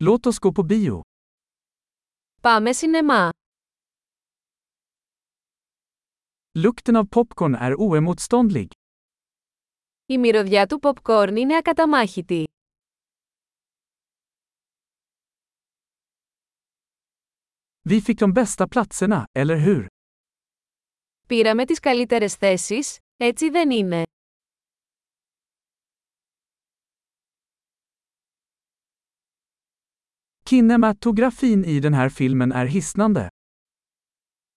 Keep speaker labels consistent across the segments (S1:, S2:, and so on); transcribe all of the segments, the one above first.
S1: Låt oss gå på bio.
S2: Πάμε σινεμά.
S1: Lukten av popcorn är oemotståndlig.
S2: Η μυρωδιά του popcorn είναι ακαταμάχητη.
S1: Vi fick de bästa platserna, eller hur?
S2: Πήραμε τις καλύτερες θέσεις, έτσι δεν είναι.
S1: Kinematografin i den här filmen är hisnande.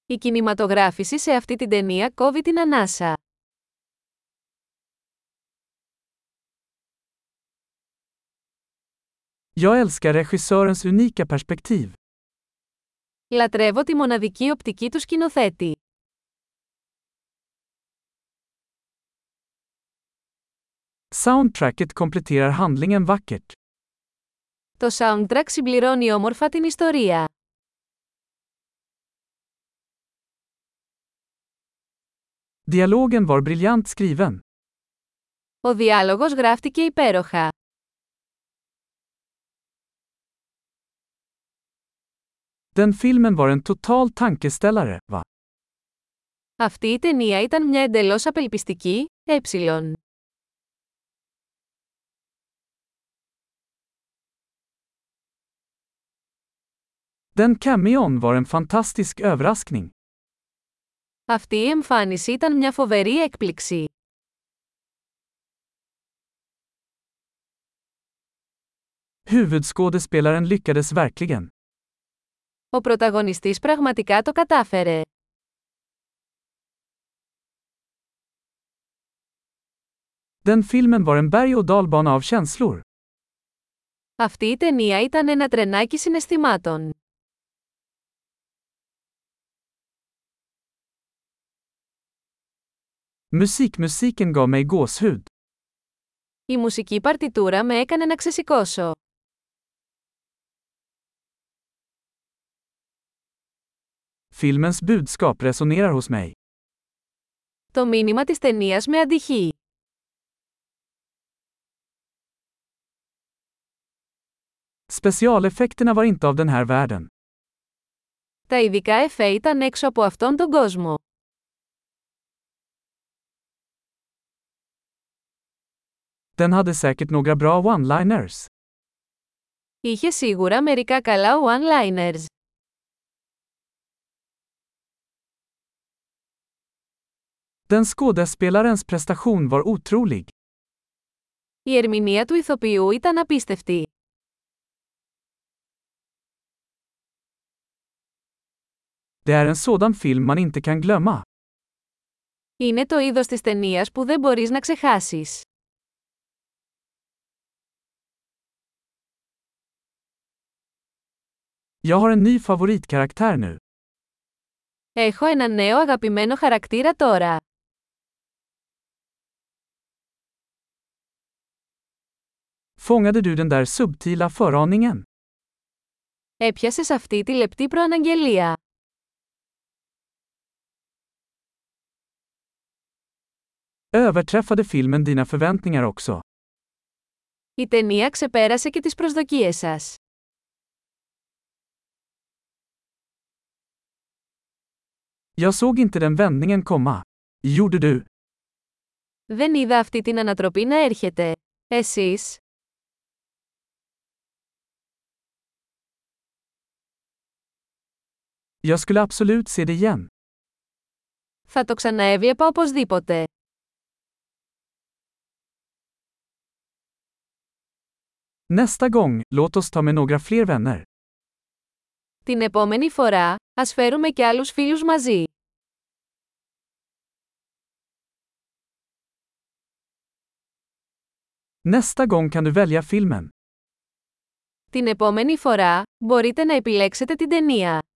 S2: Η κινηματογράφηση σε αυτή την ταινία κόβει την ανάσα.
S1: Jag älskar regissörens unika perspektiv.
S2: Λατρεύω τη μοναδική οπτική του σκηνοθέτη.
S1: Soundtracket kompletterar handlingen vackert.
S2: Το soundtrack συμπληρώνει όμορφα την ιστορία.
S1: Dialogen var briljant skriven.
S2: Ο διάλογος γράφτηκε υπέροχα.
S1: Den filmen var en total tankeställare, va?
S2: Αυτή η ταινία ήταν μια εντελώς απελπιστική, ε.
S1: Den cameon var en fantastisk överraskning.
S2: Αυτή η εμφάνιση ήταν μια φοβερή έκπληξη.
S1: Huvudskådespelaren lyckades verkligen.
S2: Ο πρωταγωνιστής πραγματικά το κατάφερε.
S1: Den filmen var en berg och dalbana av känslor.
S2: Αυτή η ταινία ήταν ένα τρενάκι συναισθημάτων.
S1: Musikmusiken gav mig gåshud.
S2: Η μουσική παρτιτούρα με έκανε να ξεσηκώσω.
S1: Filmens budskap resonerar hos mig.
S2: Το μήνυμα της ταινίας με αντυχεί.
S1: Specialeffekterna var inte av den här världen.
S2: Τα ειδικά εφέ ήταν έξω από αυτόν τον κόσμο.
S1: Den hade säkert några bra one-liners.
S2: Είχε σίγουρα μερικά καλά one-liners.
S1: Den skådespelarens prestation var otrolig.
S2: Η ερμηνεία του ηθοποιού ήταν απίστευτη.
S1: Det är en sådan film man inte kan glömma.
S2: Είναι το είδος της ταινίας που δεν μπορείς να ξεχάσεις.
S1: Jag har en ny favoritkaraktär nu.
S2: Έχω ένα νέο αγαπημένο χαρακτήρα τώρα.
S1: Fångade du den där subtila föraningen?
S2: Έπιασες αυτή τη λεπτή προαναγγελία.
S1: Överträffade filmen dina förväntningar också?
S2: Η ταινία ξεπέρασε και τις προσδοκίες σας.
S1: Jag såg inte den vändningen komma. Gjorde du?
S2: Δεν είδα αυτή την ανατροπή να έρχεται. Εσείς,
S1: Jag skulle absolut se det igen.
S2: θα το ξαναέβλεπα οπωσδήποτε.
S1: Nästa gång, låt oss ta med några fler vänner.
S2: Την επόμενη φορά, ας φέρουμε και άλλους φίλους μαζί.
S1: Nästa gång kan du välja filmen.
S2: Την επόμενη φορά, μπορείτε να επιλέξετε την ταινία.